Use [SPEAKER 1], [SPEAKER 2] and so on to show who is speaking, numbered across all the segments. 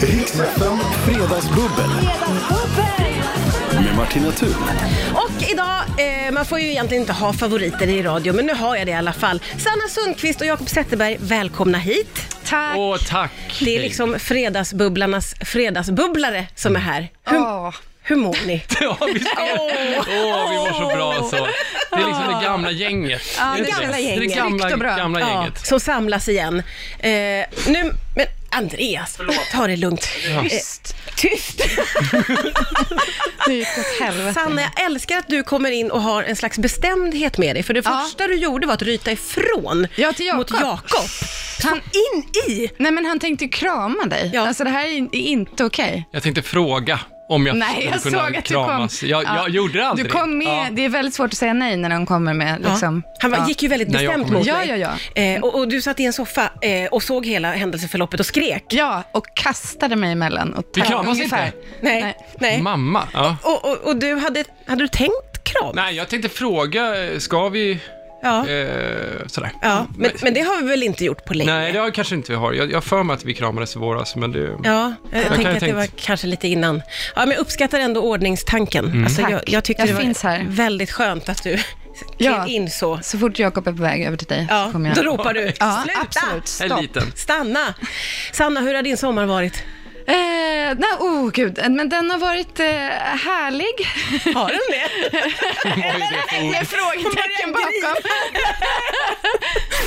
[SPEAKER 1] Riksfem Fredagsbubbel med Martina Thun.
[SPEAKER 2] Och idag, eh, man får ju egentligen inte ha favoriter i radio, men nu har jag det i alla fall. Sanna Sundqvist och Jakob Zetterberg, välkomna hit.
[SPEAKER 3] Tack.
[SPEAKER 4] Åh, tack!
[SPEAKER 2] Det är liksom fredagsbubblarnas fredagsbubblare som är här. Hur,
[SPEAKER 3] Åh.
[SPEAKER 2] hur mår ni?
[SPEAKER 4] Ja, visst är det. Åh, vi mår så bra så. Det är liksom det gamla gänget.
[SPEAKER 3] Ja,
[SPEAKER 4] Är
[SPEAKER 3] det
[SPEAKER 4] inte
[SPEAKER 3] gamla
[SPEAKER 4] Det är
[SPEAKER 3] gänget.
[SPEAKER 4] det gamla,
[SPEAKER 3] Tryggt och bra.
[SPEAKER 4] gamla
[SPEAKER 2] Ja,
[SPEAKER 4] gänget.
[SPEAKER 2] som samlas igen. Eh, nu, men Andreas, ta det lugnt.
[SPEAKER 3] Tyst.
[SPEAKER 2] Tyst!
[SPEAKER 3] Nu gick det åt helvete.
[SPEAKER 2] Sanna, jag älskar att du kommer in och har en slags bestämdhet med dig. För det
[SPEAKER 3] Ja.
[SPEAKER 2] första du gjorde var att ryta ifrån
[SPEAKER 3] Ja, till Jakob.
[SPEAKER 2] mot Jakob.
[SPEAKER 3] Han,
[SPEAKER 2] In i!
[SPEAKER 3] nej, men han tänkte ju krama dig.
[SPEAKER 2] Ja.
[SPEAKER 3] Alltså det här är in- är inte okej.
[SPEAKER 4] Jag tänkte fråga om jag
[SPEAKER 3] Nej, jag
[SPEAKER 4] skulle
[SPEAKER 3] såg
[SPEAKER 4] kunna
[SPEAKER 3] att du kom.
[SPEAKER 4] kramas. Jag,
[SPEAKER 3] Ja.
[SPEAKER 4] jag gjorde det aldrig.
[SPEAKER 3] Du kom med,
[SPEAKER 4] Ja.
[SPEAKER 3] det är väldigt svårt att säga nej när de kommer med liksom.
[SPEAKER 2] Ja. Han var, gick ju väldigt
[SPEAKER 4] När jag
[SPEAKER 2] bestämt
[SPEAKER 4] kom
[SPEAKER 2] mot
[SPEAKER 3] in.
[SPEAKER 2] mig.
[SPEAKER 3] Ja, ja,
[SPEAKER 2] Eh, och, och du satt i en soffa eh, och såg hela händelseförloppet och skrek.
[SPEAKER 3] Ja, och kastade mig emellan. Och
[SPEAKER 4] Vi
[SPEAKER 3] tog
[SPEAKER 4] kramas
[SPEAKER 3] ungefär.
[SPEAKER 4] inte.
[SPEAKER 2] Nej, nej.
[SPEAKER 3] Nej.
[SPEAKER 4] Mamma. Ja.
[SPEAKER 2] Och, och, och du hade, hade du tänkt kram?
[SPEAKER 4] Nej, jag tänkte fråga, eh, ska vi...
[SPEAKER 2] Ja.
[SPEAKER 4] Eh, sådär.
[SPEAKER 2] ja. Men, men det har vi väl inte gjort på länge?
[SPEAKER 4] Nej, det har jag kanske inte vi har. Jag jag har för mig att vi kramades i våras, men det...
[SPEAKER 2] Ja, jag,
[SPEAKER 4] Jag kan
[SPEAKER 2] tänker
[SPEAKER 4] ju
[SPEAKER 2] att det
[SPEAKER 4] tänkt-
[SPEAKER 2] var kanske lite innan. Ja, men jag uppskattar ändå ordningstanken.
[SPEAKER 4] Mm.
[SPEAKER 2] Alltså,
[SPEAKER 3] Tack.
[SPEAKER 2] jag, jag tyckte
[SPEAKER 3] Jag
[SPEAKER 2] det var
[SPEAKER 3] finns här.
[SPEAKER 2] väldigt skönt att du
[SPEAKER 3] Ja.
[SPEAKER 2] klev in så.
[SPEAKER 3] Så fort Jakob är på väg över till dig
[SPEAKER 2] Ja,
[SPEAKER 3] så kommer jag.
[SPEAKER 2] Då ropar du,
[SPEAKER 3] Ja,
[SPEAKER 2] sluta!
[SPEAKER 3] absolut.
[SPEAKER 4] Jag är
[SPEAKER 3] Stopp.
[SPEAKER 4] liten.
[SPEAKER 2] Stanna! Sanna, hur har din sommar varit?
[SPEAKER 3] Eh, nej, oh gud. Men den har varit eh, härlig.
[SPEAKER 2] Har den det?
[SPEAKER 4] Vad är det
[SPEAKER 2] Mm.
[SPEAKER 4] för ord?
[SPEAKER 3] Det är frågetecken bakom.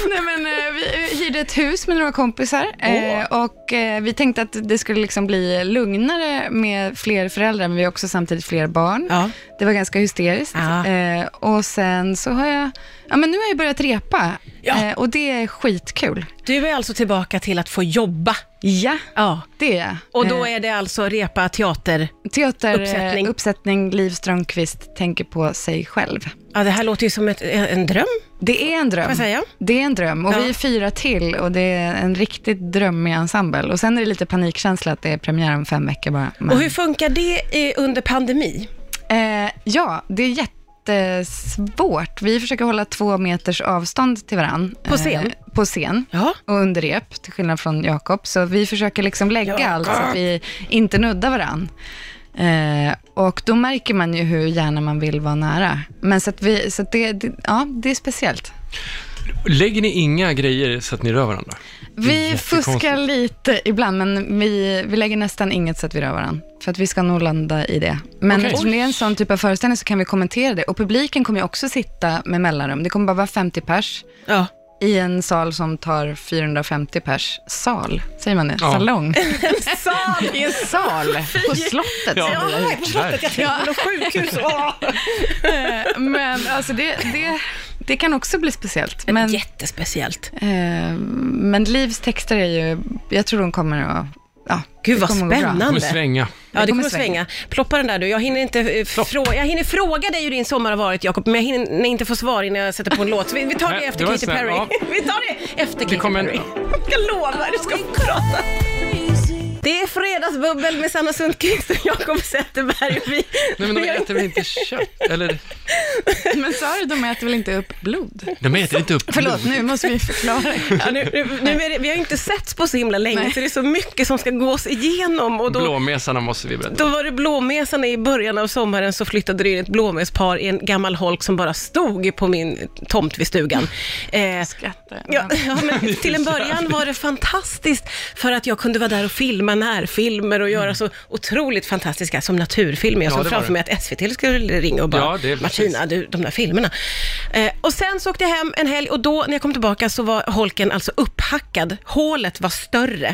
[SPEAKER 3] Nej, men, eh, vi hyrde ett hus med några kompisar eh, och eh, vi tänkte att det skulle liksom bli lugnare med fler föräldrar, men vi har också samtidigt fler barn.
[SPEAKER 2] Ja.
[SPEAKER 3] Det var ganska hysteriskt.
[SPEAKER 2] Ja.
[SPEAKER 3] Eh, och sen så har jag, ja men nu har jag börjat repa
[SPEAKER 2] Ja.
[SPEAKER 3] eh, och det är skitkul.
[SPEAKER 2] Du är alltså tillbaka till att få jobba.
[SPEAKER 3] Ja,
[SPEAKER 2] Ja.
[SPEAKER 3] det är jag.
[SPEAKER 2] Och då
[SPEAKER 3] eh,
[SPEAKER 2] är det alltså repa teater.
[SPEAKER 3] teater,
[SPEAKER 2] uppsättning.
[SPEAKER 3] eh, uppsättning Liv Strömquist tänker på sig själv.
[SPEAKER 2] Ja, det här låter ju som ett, en dröm.
[SPEAKER 3] Det är en dröm.
[SPEAKER 2] jag säga?
[SPEAKER 3] Det är en dröm. Och
[SPEAKER 2] Ja.
[SPEAKER 3] vi är fyra till och det är en riktigt drömmig ensemble. Och sen är det lite panikkänsla att det är premiär om fem veckor bara. Men,
[SPEAKER 2] Och hur funkar det eh, under pandemi?
[SPEAKER 3] eh, ja, det är jättesvårt. Vi försöker hålla två meters avstånd till varandra.
[SPEAKER 2] På scen?
[SPEAKER 3] på scen.
[SPEAKER 2] Ja.
[SPEAKER 3] Och under rep, till skillnad från Jakob. Så vi försöker liksom lägga
[SPEAKER 2] Jakob.
[SPEAKER 3] allt så att vi inte nuddar varandra. Eh, och då märker man ju hur gärna man vill vara nära. Men så att vi, så att det, det, ja, det är speciellt.
[SPEAKER 4] Lägger ni inga grejer så att ni rör varandra?
[SPEAKER 3] Vi
[SPEAKER 4] jättekonstigt.
[SPEAKER 3] fuskar lite ibland, men vi, vi lägger nästan inget så att vi rör varandra. För att vi ska nog landa i det. Men
[SPEAKER 4] Okej.
[SPEAKER 3] eftersom det är en sån typ av föreställning så kan vi kommentera det. Och publiken kommer ju också sitta med mellanrum. Det kommer bara vara 50 pers
[SPEAKER 2] Ja.
[SPEAKER 3] i en sal som tar 450 pers. Sal, säger man det?
[SPEAKER 4] Ja.
[SPEAKER 3] Salong?
[SPEAKER 2] Sal!
[SPEAKER 3] I en sal på slottet.
[SPEAKER 4] Ja.
[SPEAKER 3] säger
[SPEAKER 2] Ja,
[SPEAKER 3] vi.
[SPEAKER 2] jag har förstått att jag tänkte på något sjukhus. Åh.
[SPEAKER 3] Eh, Men alltså det, det, det kan också bli speciellt. Men,
[SPEAKER 2] Jättespeciellt.
[SPEAKER 3] eh, men Livs texter är ju, jag tror de kommer att, ja.
[SPEAKER 2] Gud
[SPEAKER 3] det
[SPEAKER 2] vad
[SPEAKER 3] kommer att gå bra.
[SPEAKER 4] Kommer
[SPEAKER 2] spännande.
[SPEAKER 4] svänga.
[SPEAKER 2] Ja, det kommer svänga. Ploppa den där du. Jag hinner, inte, eh, frå- jag hinner fråga dig hur din sommar har varit, Jakob, men jag hinner inte få svar innan jag sätter på en låt. Så vi, vi tar det
[SPEAKER 4] Nej,
[SPEAKER 2] efter
[SPEAKER 4] det var
[SPEAKER 2] Katy
[SPEAKER 4] snällt.
[SPEAKER 2] Perry.
[SPEAKER 4] Ja.
[SPEAKER 2] Vi tar det efter Katy
[SPEAKER 4] kommer en-
[SPEAKER 2] Perry. Jag lovar, du ska få prata. Det är fredagsbubbel med Sanna Sundqvist och Jakob Zetterberg. Vi,
[SPEAKER 4] Nej, men de äter väl inte kött? Eller?
[SPEAKER 3] Men sa du, de äter väl inte upp blod?
[SPEAKER 4] De äter inte upp
[SPEAKER 3] Förlåt, nu måste vi förklara.
[SPEAKER 2] ja, nu, nu, nu är det, vi har ju inte setts på så himla länge,
[SPEAKER 3] Nej.
[SPEAKER 2] så det är så mycket som ska gås igenom. Och då,
[SPEAKER 4] Blåmesarna måste vi berätta.
[SPEAKER 2] Då var det blåmesarna i början av sommaren så flyttade det in ett blåmespar i en gammal holk som bara stod på min tomt vid stugan. Eh,
[SPEAKER 3] Skrattar.
[SPEAKER 2] Ja, ja, men till en början var det fantastiskt för att jag kunde vara där och filma närfilmer och göra så otroligt fantastiska, som naturfilmer. Jag
[SPEAKER 4] Mm. Ja,
[SPEAKER 2] såg
[SPEAKER 4] det var
[SPEAKER 2] framför
[SPEAKER 4] det.
[SPEAKER 2] mig att SVT skulle ringa och bara,
[SPEAKER 4] Ja, det är precis.
[SPEAKER 2] Martina, du, de där filmerna. Eh, och sen så åkte jag hem en helg och då när jag kom tillbaka så var holken alltså upphackad. Hålet var större.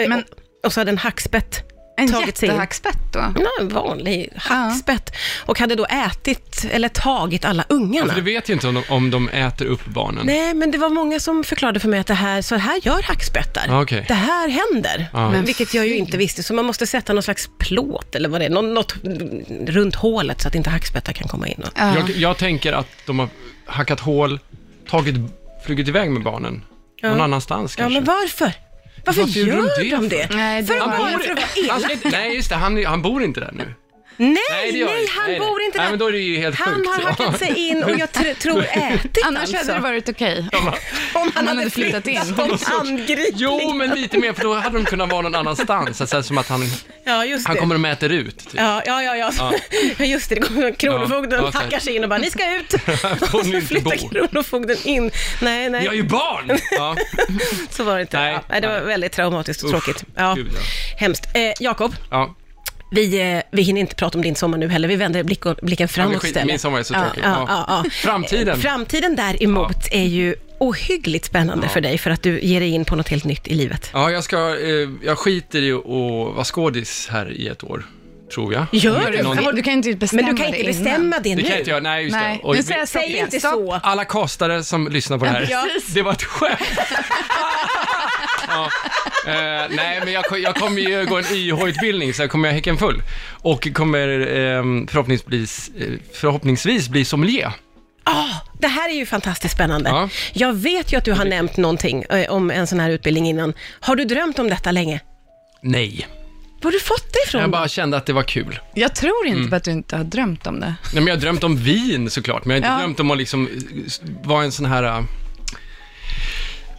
[SPEAKER 2] Eh,
[SPEAKER 3] Men-
[SPEAKER 2] och, och så hade en hackspett
[SPEAKER 3] En
[SPEAKER 2] tagit sig in.
[SPEAKER 3] jättehackspett då?
[SPEAKER 2] Ja, en vanlig hackspett. Och hade då ätit, eller tagit, alla ungarna.
[SPEAKER 4] För Alltså, du vet ju inte om de, om de äter upp barnen.
[SPEAKER 2] Nej, men det var många som förklarade för mig att det här, så här gör hackspettar.
[SPEAKER 4] Ah, okej.
[SPEAKER 2] Det här händer.
[SPEAKER 4] Ah.
[SPEAKER 2] Men
[SPEAKER 4] Men
[SPEAKER 2] vilket jag ju inte visste, så man måste sätta någon slags plåt eller vad det är, något, något runt hålet så att inte hackspettar kan komma in. Och...
[SPEAKER 3] Ja.
[SPEAKER 4] Jag, jag tänker att de har hackat hål, tagit, flugit iväg med barnen. Någon annanstans
[SPEAKER 2] Ja,
[SPEAKER 4] kanske.
[SPEAKER 2] men varför? Varför,
[SPEAKER 4] Varför gjorde
[SPEAKER 2] gör de
[SPEAKER 4] de det
[SPEAKER 2] det?
[SPEAKER 3] för? Nej, det
[SPEAKER 2] för att bara
[SPEAKER 3] var-
[SPEAKER 2] för att vara
[SPEAKER 4] han
[SPEAKER 2] elak.
[SPEAKER 4] ska, inte- nej, just det. Han, han bor inte där nu.
[SPEAKER 2] Nej,
[SPEAKER 4] Nej, det
[SPEAKER 2] nej,
[SPEAKER 4] gör det inte.
[SPEAKER 2] han
[SPEAKER 4] Nej, det-
[SPEAKER 2] bor inte
[SPEAKER 4] Nej,
[SPEAKER 2] där.
[SPEAKER 4] men då är det ju helt
[SPEAKER 2] han
[SPEAKER 4] sjukt.
[SPEAKER 2] har
[SPEAKER 4] Ja.
[SPEAKER 2] hackat sig in och jag tr- tror ätit
[SPEAKER 3] Annars
[SPEAKER 2] alltså.
[SPEAKER 3] hade det varit okej.
[SPEAKER 2] Om han
[SPEAKER 3] hade
[SPEAKER 2] hade
[SPEAKER 3] flyttat
[SPEAKER 2] flyttat in.
[SPEAKER 3] in.
[SPEAKER 2] Som angripning.
[SPEAKER 4] Jo, men lite mer, för då hade de kunnat vara någon annanstans. Alltså, som att han,
[SPEAKER 2] Ja, just
[SPEAKER 4] han
[SPEAKER 2] det.
[SPEAKER 4] kommer och mäter ut. Typ.
[SPEAKER 2] Ja, ja, ja. ja. Just det, det kommer kronofogden
[SPEAKER 4] Ja, ja, tack.
[SPEAKER 2] hackar sig in och bara, ni ska ut.
[SPEAKER 4] får
[SPEAKER 2] Och
[SPEAKER 4] ni
[SPEAKER 2] så
[SPEAKER 4] inte
[SPEAKER 2] flyttar
[SPEAKER 4] bo.
[SPEAKER 2] kronofogden in. Nej, nej,
[SPEAKER 4] Jag är ju barn! Ja,
[SPEAKER 2] så var det inte.
[SPEAKER 4] Nej,
[SPEAKER 2] Nej, ja, det var
[SPEAKER 4] nej.
[SPEAKER 2] väldigt traumatiskt och
[SPEAKER 4] Usch,
[SPEAKER 2] tråkigt. Ja.
[SPEAKER 4] gud, ja.
[SPEAKER 2] Hemskt. Eh, Jakob,
[SPEAKER 4] ja.
[SPEAKER 2] vi, eh, vi hinner inte prata om din sommar nu heller. Vi vänder blick och, blicken
[SPEAKER 4] Ja, men
[SPEAKER 2] framåt
[SPEAKER 4] skit,
[SPEAKER 2] istället.
[SPEAKER 4] min sommar är så tråkig.
[SPEAKER 2] Ja,
[SPEAKER 4] Ja.
[SPEAKER 2] ja, ja.
[SPEAKER 4] Framtiden.
[SPEAKER 2] Framtiden däremot är ju ohyggligt spännande för dig, för att du ger dig in på något helt nytt i livet.
[SPEAKER 4] Ja, jag, ska, eh, jag skiter i att vara skådis här i ett år, tror jag.
[SPEAKER 2] Gör
[SPEAKER 4] Någon-
[SPEAKER 2] du?
[SPEAKER 3] Du kan inte bestämma
[SPEAKER 2] Men du kan inte
[SPEAKER 3] det innan.
[SPEAKER 2] bestämma det
[SPEAKER 4] Det
[SPEAKER 2] nu.
[SPEAKER 4] kan jag inte jag. Nej, just
[SPEAKER 3] Nej,
[SPEAKER 4] det.
[SPEAKER 3] nu
[SPEAKER 4] Oj, vi-
[SPEAKER 3] säger jag stopp
[SPEAKER 2] Säg
[SPEAKER 3] igen.
[SPEAKER 2] inte
[SPEAKER 3] Stopp.
[SPEAKER 2] så.
[SPEAKER 4] alla kastare som lyssnar på det här,
[SPEAKER 2] Ja.
[SPEAKER 4] det var ett skämt. ja. eh, nej, men jag, ko- jag kommer ju gå en YH-utbildning, så jag kommer jag häcken full. Och kommer ehm, förhoppningsvis, eh, förhoppningsvis bli sommelier.
[SPEAKER 2] Ah, det här är ju fantastiskt spännande.
[SPEAKER 4] Ja.
[SPEAKER 2] Jag vet ju att du har nämnt någonting eh, om en sån här utbildning innan. Har du drömt om detta länge?
[SPEAKER 4] Nej,
[SPEAKER 2] Var har du fått det ifrån?
[SPEAKER 4] jag bara kände att det var kul.
[SPEAKER 3] Jag tror inte
[SPEAKER 4] Mm.
[SPEAKER 3] på att du inte har drömt om det.
[SPEAKER 4] Nej, men jag har drömt om vin såklart, men jag har inte
[SPEAKER 3] Ja.
[SPEAKER 4] drömt om att liksom s- vara en sån här äh,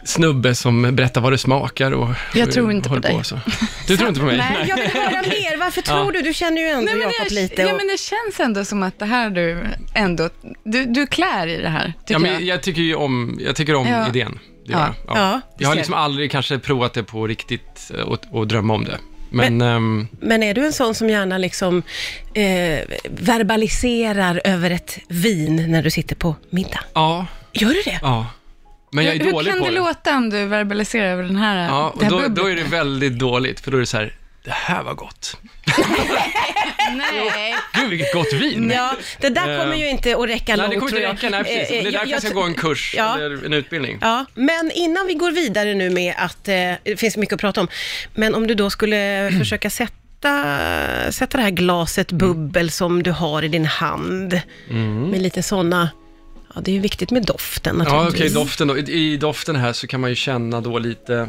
[SPEAKER 4] snubbe som berättar vad det smakar och
[SPEAKER 3] Jag tror inte på
[SPEAKER 4] håller
[SPEAKER 3] dig.
[SPEAKER 4] så. Du tror inte på mig?
[SPEAKER 3] Nej.
[SPEAKER 2] Jag vill höra mer. Varför tror du? Du känner ju ändå
[SPEAKER 3] Nej, men
[SPEAKER 2] Jakob
[SPEAKER 3] jag,
[SPEAKER 2] lite.
[SPEAKER 3] ja,
[SPEAKER 2] och-
[SPEAKER 3] men det känns ändå som att det här du ändå, du, du klär i det här, tycker
[SPEAKER 4] Ja,
[SPEAKER 3] jag.
[SPEAKER 4] men jag tycker ju om, jag tycker om
[SPEAKER 3] Ja.
[SPEAKER 4] idén. Det gör
[SPEAKER 3] Ja.
[SPEAKER 4] Jag. Ja.
[SPEAKER 2] Ja.
[SPEAKER 4] jag har liksom aldrig kanske provat det på riktigt eh, och, och drömma om det. Men, ehm,
[SPEAKER 2] Men är du en sån som gärna liksom eh, verbaliserar över ett vin när du sitter på middag?
[SPEAKER 4] ja,
[SPEAKER 2] Gör du det?
[SPEAKER 4] ja. Men jag är
[SPEAKER 3] Hur
[SPEAKER 4] dålig
[SPEAKER 3] kan
[SPEAKER 4] på
[SPEAKER 3] det
[SPEAKER 4] det.
[SPEAKER 3] låta om du verbaliserar över den här,
[SPEAKER 4] Ja,
[SPEAKER 3] det
[SPEAKER 4] och
[SPEAKER 3] här
[SPEAKER 4] då,
[SPEAKER 3] bubblet?
[SPEAKER 4] då är det väldigt dåligt, för då är det så här, det här var gott.
[SPEAKER 3] Nej,
[SPEAKER 4] Gud, vilket gott vin.
[SPEAKER 2] Ja, det där kommer ju inte att räcka
[SPEAKER 4] Eh. Nej,
[SPEAKER 2] långt
[SPEAKER 4] det kommer
[SPEAKER 2] tror
[SPEAKER 4] inte
[SPEAKER 2] jag.
[SPEAKER 4] räcka. Nej, precis.
[SPEAKER 2] Eh, eh,
[SPEAKER 4] Det är därför jag ska gå en kurs
[SPEAKER 2] Ja.
[SPEAKER 4] eller en utbildning.
[SPEAKER 2] Ja, men innan vi går vidare nu med att eh, det finns mycket att prata om, men om du då skulle försöka sätta, sätta det här glaset bubbel som du har i din hand med lite sådana, ja det är ju viktigt med doften
[SPEAKER 4] Ja, okej,
[SPEAKER 2] naturligtvis.
[SPEAKER 4] doften då. I, I doften här så kan man ju känna då lite...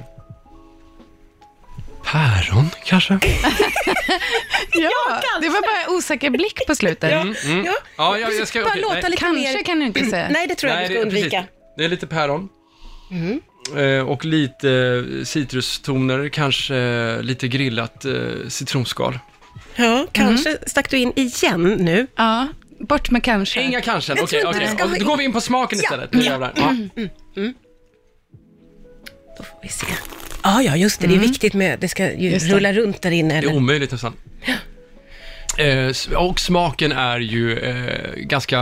[SPEAKER 4] Päron, kanske?
[SPEAKER 3] ja, det var bara en osäker blick på slutet.
[SPEAKER 2] Ja.
[SPEAKER 4] Ja, jag, jag ska...
[SPEAKER 2] Bara
[SPEAKER 4] okej,
[SPEAKER 2] låta
[SPEAKER 4] nej.
[SPEAKER 2] lite
[SPEAKER 3] Kanske
[SPEAKER 2] mer.
[SPEAKER 3] kan du inte säga.
[SPEAKER 2] Nej, det tror jag vi ska
[SPEAKER 4] det-
[SPEAKER 2] undvika. Mm.
[SPEAKER 4] precis. Det är lite päron. Eh, och lite eh, citrustoner, kanske eh, lite grillat eh, citronskal.
[SPEAKER 2] Ja, kanske stack du in igen nu.
[SPEAKER 3] Ja, bort med kanske.
[SPEAKER 4] Inga kanske,
[SPEAKER 2] tror
[SPEAKER 4] okej.
[SPEAKER 2] inte
[SPEAKER 4] okej.
[SPEAKER 2] det ska
[SPEAKER 4] Och
[SPEAKER 2] vara-
[SPEAKER 4] Då går vi in på smaken istället. Nu jävlar. Ja.
[SPEAKER 2] Då får vi se. Ja, ja, just det. Det är viktigt med, det ska ju
[SPEAKER 3] Just det.
[SPEAKER 2] rulla runt där inne.
[SPEAKER 4] Det är
[SPEAKER 2] Eller?
[SPEAKER 4] omöjligt nästan. Eh, s- och smaken är ju eh, ganska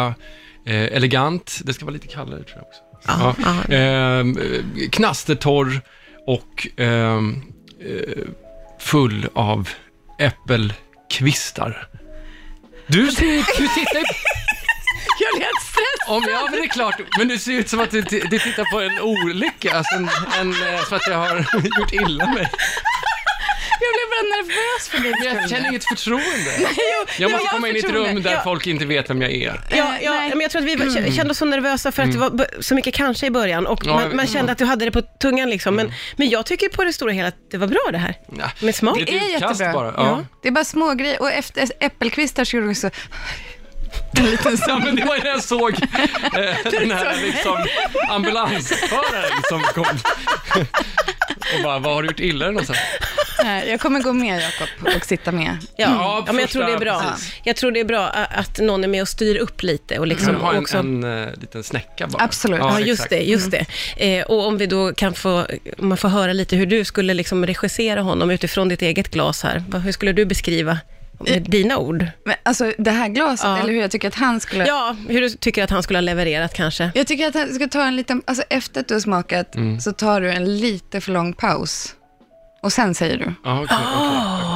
[SPEAKER 4] eh, elegant. Det ska vara lite kallare tror jag också.
[SPEAKER 2] Ja, ja.
[SPEAKER 4] Ehm, Eh, knastertorr och ehm, eh, full av äppelkvistar. Du, ser ut- du tittar ju...
[SPEAKER 3] Jag lät stress.
[SPEAKER 4] Om jag det är klart, men du ser ut som att du, t- du tittar på en olycka, alltså en, en, eh, som att jag har gjort illa mig.
[SPEAKER 3] Jag blev bara nervös för din
[SPEAKER 4] Men
[SPEAKER 3] skull.
[SPEAKER 4] jag känner inget förtroende. Jag
[SPEAKER 3] men
[SPEAKER 4] måste
[SPEAKER 3] jag
[SPEAKER 4] komma in i ett
[SPEAKER 3] förtroende.
[SPEAKER 4] rum där
[SPEAKER 2] Ja.
[SPEAKER 4] folk inte vet vem jag är.
[SPEAKER 2] Ja,
[SPEAKER 3] Eh,
[SPEAKER 2] ja,
[SPEAKER 3] nej.
[SPEAKER 2] men jag tror att vi var- k- kände oss så nervösa för att det var b- så mycket kanske i början och
[SPEAKER 4] Mm. Ja, Mm.
[SPEAKER 2] man,
[SPEAKER 4] jag-
[SPEAKER 2] man kände att du hade det på tungan liksom. Men, men jag tycker på det stora hela att det var bra det här.
[SPEAKER 4] Nja,
[SPEAKER 2] Med smak.
[SPEAKER 4] ett
[SPEAKER 3] Det är
[SPEAKER 4] utkast
[SPEAKER 3] jättebra. Mm.
[SPEAKER 4] Bara. Ja.
[SPEAKER 3] Det är bara små grejer och efter äppelkvistar så gjorde du så... En liten
[SPEAKER 4] Ja,
[SPEAKER 3] sån.
[SPEAKER 4] men det var ju när jag såg eh, den här liksom, ambulansföraren som kom och bara, vad har du gjort illa dig någonstans?
[SPEAKER 3] Nej, jag kommer gå med Jakob och sitta med.
[SPEAKER 2] Ja,
[SPEAKER 4] Ja,
[SPEAKER 2] Mm. ja, men jag
[SPEAKER 4] första-
[SPEAKER 2] tror det är bra.
[SPEAKER 4] precis.
[SPEAKER 2] Jag tror det är bra a- att någon är med och styr upp lite och liksom
[SPEAKER 4] Som har en,
[SPEAKER 2] också...
[SPEAKER 4] en eh, liten snäcka bara.
[SPEAKER 3] Absolut.
[SPEAKER 2] Ja, just
[SPEAKER 4] exakt. Mm.
[SPEAKER 2] det. Just det. Eh, och om vi då kan få, om man får höra lite hur du skulle liksom regissera honom utifrån ditt eget glas här. Vad- Hur skulle du beskriva
[SPEAKER 4] Eh.
[SPEAKER 2] med dina ord?
[SPEAKER 3] Men, alltså det här glaset,
[SPEAKER 2] Ja.
[SPEAKER 3] eller hur jag tycker att han skulle...
[SPEAKER 2] Ja, hur du tycker att han skulle ha levererat kanske.
[SPEAKER 3] Jag tycker att han ska ta en liten... Alltså efter att du har smakat så tar du en lite för lång paus. Och sen säger du.
[SPEAKER 4] Ja, okej, okej,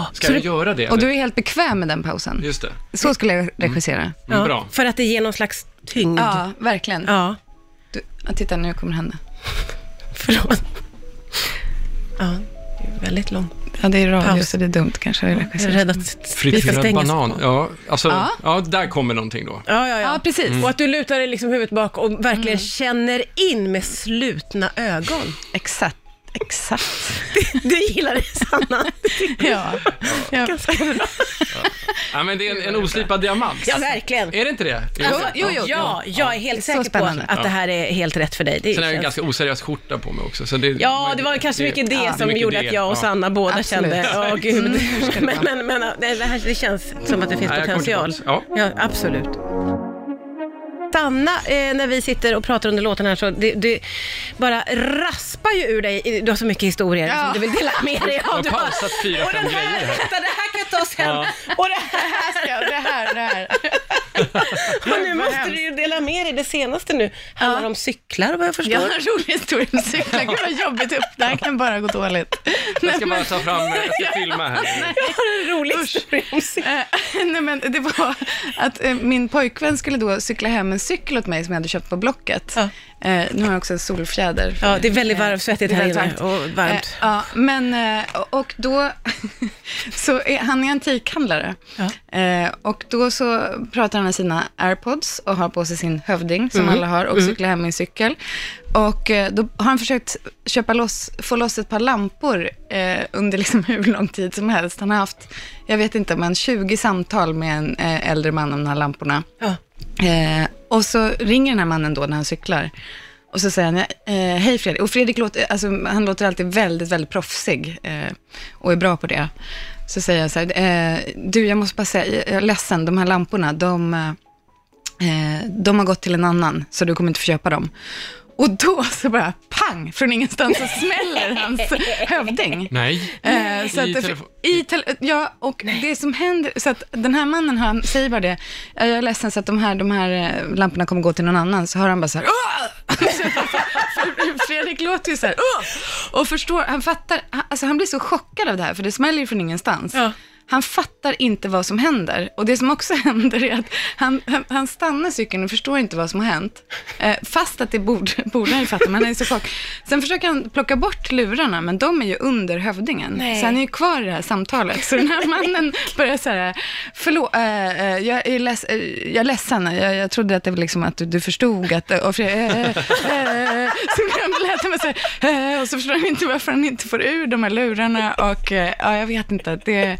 [SPEAKER 4] okej. Ska
[SPEAKER 2] så
[SPEAKER 4] jag
[SPEAKER 2] det-
[SPEAKER 4] göra det?
[SPEAKER 3] Och du
[SPEAKER 4] eller?
[SPEAKER 3] är helt bekväm med den pausen.
[SPEAKER 4] Just det.
[SPEAKER 3] Så skulle jag regissera. Mm.
[SPEAKER 4] Mm,
[SPEAKER 2] Ja,
[SPEAKER 4] Bra.
[SPEAKER 2] För att det ger någon slags tyngd.
[SPEAKER 3] Ja, verkligen.
[SPEAKER 2] ja.
[SPEAKER 3] Du, ja, titta, nu kommer han.
[SPEAKER 2] Förlåt. Ja, det är väldigt lång.
[SPEAKER 3] Ja, det är radio
[SPEAKER 2] Paus.
[SPEAKER 3] så det är dumt kanske att
[SPEAKER 2] Jag är
[SPEAKER 3] regissera.
[SPEAKER 2] rädd att vi
[SPEAKER 4] Friterad
[SPEAKER 2] ska
[SPEAKER 4] banan.
[SPEAKER 2] Ja,
[SPEAKER 4] Ja, alltså,
[SPEAKER 3] Ja.
[SPEAKER 4] ja. där kommer någonting då.
[SPEAKER 2] ja, ja. Mm.
[SPEAKER 3] Ja, precis.
[SPEAKER 2] Och att du lutar dig liksom huvudet bak och verkligen känner in med slutna ögon.
[SPEAKER 3] Exakt. Exakt.
[SPEAKER 2] Du gillar det, Sanna.
[SPEAKER 3] Ja. ja.
[SPEAKER 4] Ja, men det är en, en oslipad diamant.
[SPEAKER 2] Ja, verkligen.
[SPEAKER 4] Är det inte det?
[SPEAKER 2] Jo, jo, jo. Ja, jag är helt
[SPEAKER 3] Så
[SPEAKER 2] säker på
[SPEAKER 3] spännande.
[SPEAKER 2] att det här är helt rätt för dig. Det
[SPEAKER 4] Sen har jag
[SPEAKER 2] känns-
[SPEAKER 4] en ganska oseriös skjorta på mig också. Så det,
[SPEAKER 2] Ja, det var kanske mycket det som
[SPEAKER 4] mycket
[SPEAKER 2] gjorde
[SPEAKER 4] det,
[SPEAKER 2] att jag och
[SPEAKER 4] ja.
[SPEAKER 2] Sanna båda
[SPEAKER 3] Absolut. Mm.
[SPEAKER 2] kände, åh gud.
[SPEAKER 3] ska det
[SPEAKER 2] Men, men, men det, det här, det känns som att det finns
[SPEAKER 4] Ja, jag kommer
[SPEAKER 2] potential.
[SPEAKER 4] tillbaks.
[SPEAKER 2] Ja, absolut. Sanna, eh, när vi sitter och pratar under låten här så det, det bara raspar ju ur dig. Du har så mycket historier
[SPEAKER 3] Ja.
[SPEAKER 2] som du vill dela med dig av.
[SPEAKER 4] Jag har
[SPEAKER 2] Du bara,
[SPEAKER 4] pausat fyra,
[SPEAKER 2] och
[SPEAKER 4] fem
[SPEAKER 2] den här,
[SPEAKER 4] grejer här.
[SPEAKER 2] Vänta, det här kan jag ta sen. Och det här ska
[SPEAKER 3] Det här, det här.
[SPEAKER 2] Och nu
[SPEAKER 3] Vad
[SPEAKER 2] måste
[SPEAKER 3] hemskt.
[SPEAKER 2] du ju dela med dig. Det senaste nu handlar om cyklar vad jag förstår.
[SPEAKER 3] Jag har en rolig historia om cyklar. Gud vad jobbigt upp. Det här kan bara gå dåligt.
[SPEAKER 4] Jag ska bara ta fram, jag ska filma här.
[SPEAKER 2] Jag har en rolig
[SPEAKER 3] Usch.
[SPEAKER 2] historia om cyklar.
[SPEAKER 3] Eh, Nej, men det var att eh, min pojkvän skulle då cykla hem en cykel åt mig som jag hade köpt på Blocket.
[SPEAKER 2] Ja.
[SPEAKER 3] Eh, nu har jag också en solfjäder.
[SPEAKER 2] Ja, det är väldigt varmt svettigt här
[SPEAKER 3] Det är
[SPEAKER 2] inne
[SPEAKER 3] väldigt
[SPEAKER 2] och varmt.
[SPEAKER 3] Eh, ja, men, eh, och då, så är, han är antikhandlare. Eh, och då så pratar han med sina airpods och har på sig sin hövding, som alla har, och cyklar hem i en cykel. Och eh, då har han försökt köpa loss, få loss ett par lampor eh, under liksom hur lång tid som helst. Han har haft, jag vet inte, men 20 samtal med en eh, äldre man om de här lamporna.
[SPEAKER 2] Ja.
[SPEAKER 3] Eh, och så ringer den här mannen då när han cyklar. Och så säger han, eh, hej Fredrik. Och Fredrik låter, alltså, han låter alltid väldigt, väldigt proffsig eh, och är bra på det. Så säger jag så här, eh, du jag måste bara säga, jag är ledsen, de här lamporna, de, eh, de har gått till en annan, så du kommer inte få köpa dem. Och då så bara pang, från ingenstans så smäller hans hövding.
[SPEAKER 4] Nej.
[SPEAKER 3] Eh, så
[SPEAKER 4] I
[SPEAKER 3] att,
[SPEAKER 4] telefon-
[SPEAKER 3] i tele- ja, och det som händer, så att den här mannen, han säger bara det, jag är ledsen så att de här, de här eh, lamporna kommer gå till någon annan, så hör han bara så här, "Åh!" För Fredrik låter ju så här, "Åh!" och förstår, han fattar, han- alltså han blir så chockad av det här, för det smäller ju från ingenstans.
[SPEAKER 2] Ja.
[SPEAKER 3] Han fattar inte vad som händer. Och det som också händer är att han, han, han stannar cykeln och förstår inte vad som har hänt. Eh, fast att det borde, borde han ju fatta, men han är så chock. Sen försöker han plocka bort lurarna, men de är ju under hövdingen.
[SPEAKER 2] Nej.
[SPEAKER 3] Så han är ju kvar i det här samtalet. Så den här mannen börjar så här, förlåt, eh, eh, jag, är leds, eh, jag är ledsen, jag, jag trodde att det var liksom att du, du förstod att, och Fredrik, eh, eh, eh, så han lät han så här, eh, och så förstår han inte varför han inte får ur de här lurarna och eh, ja, jag vet inte, det,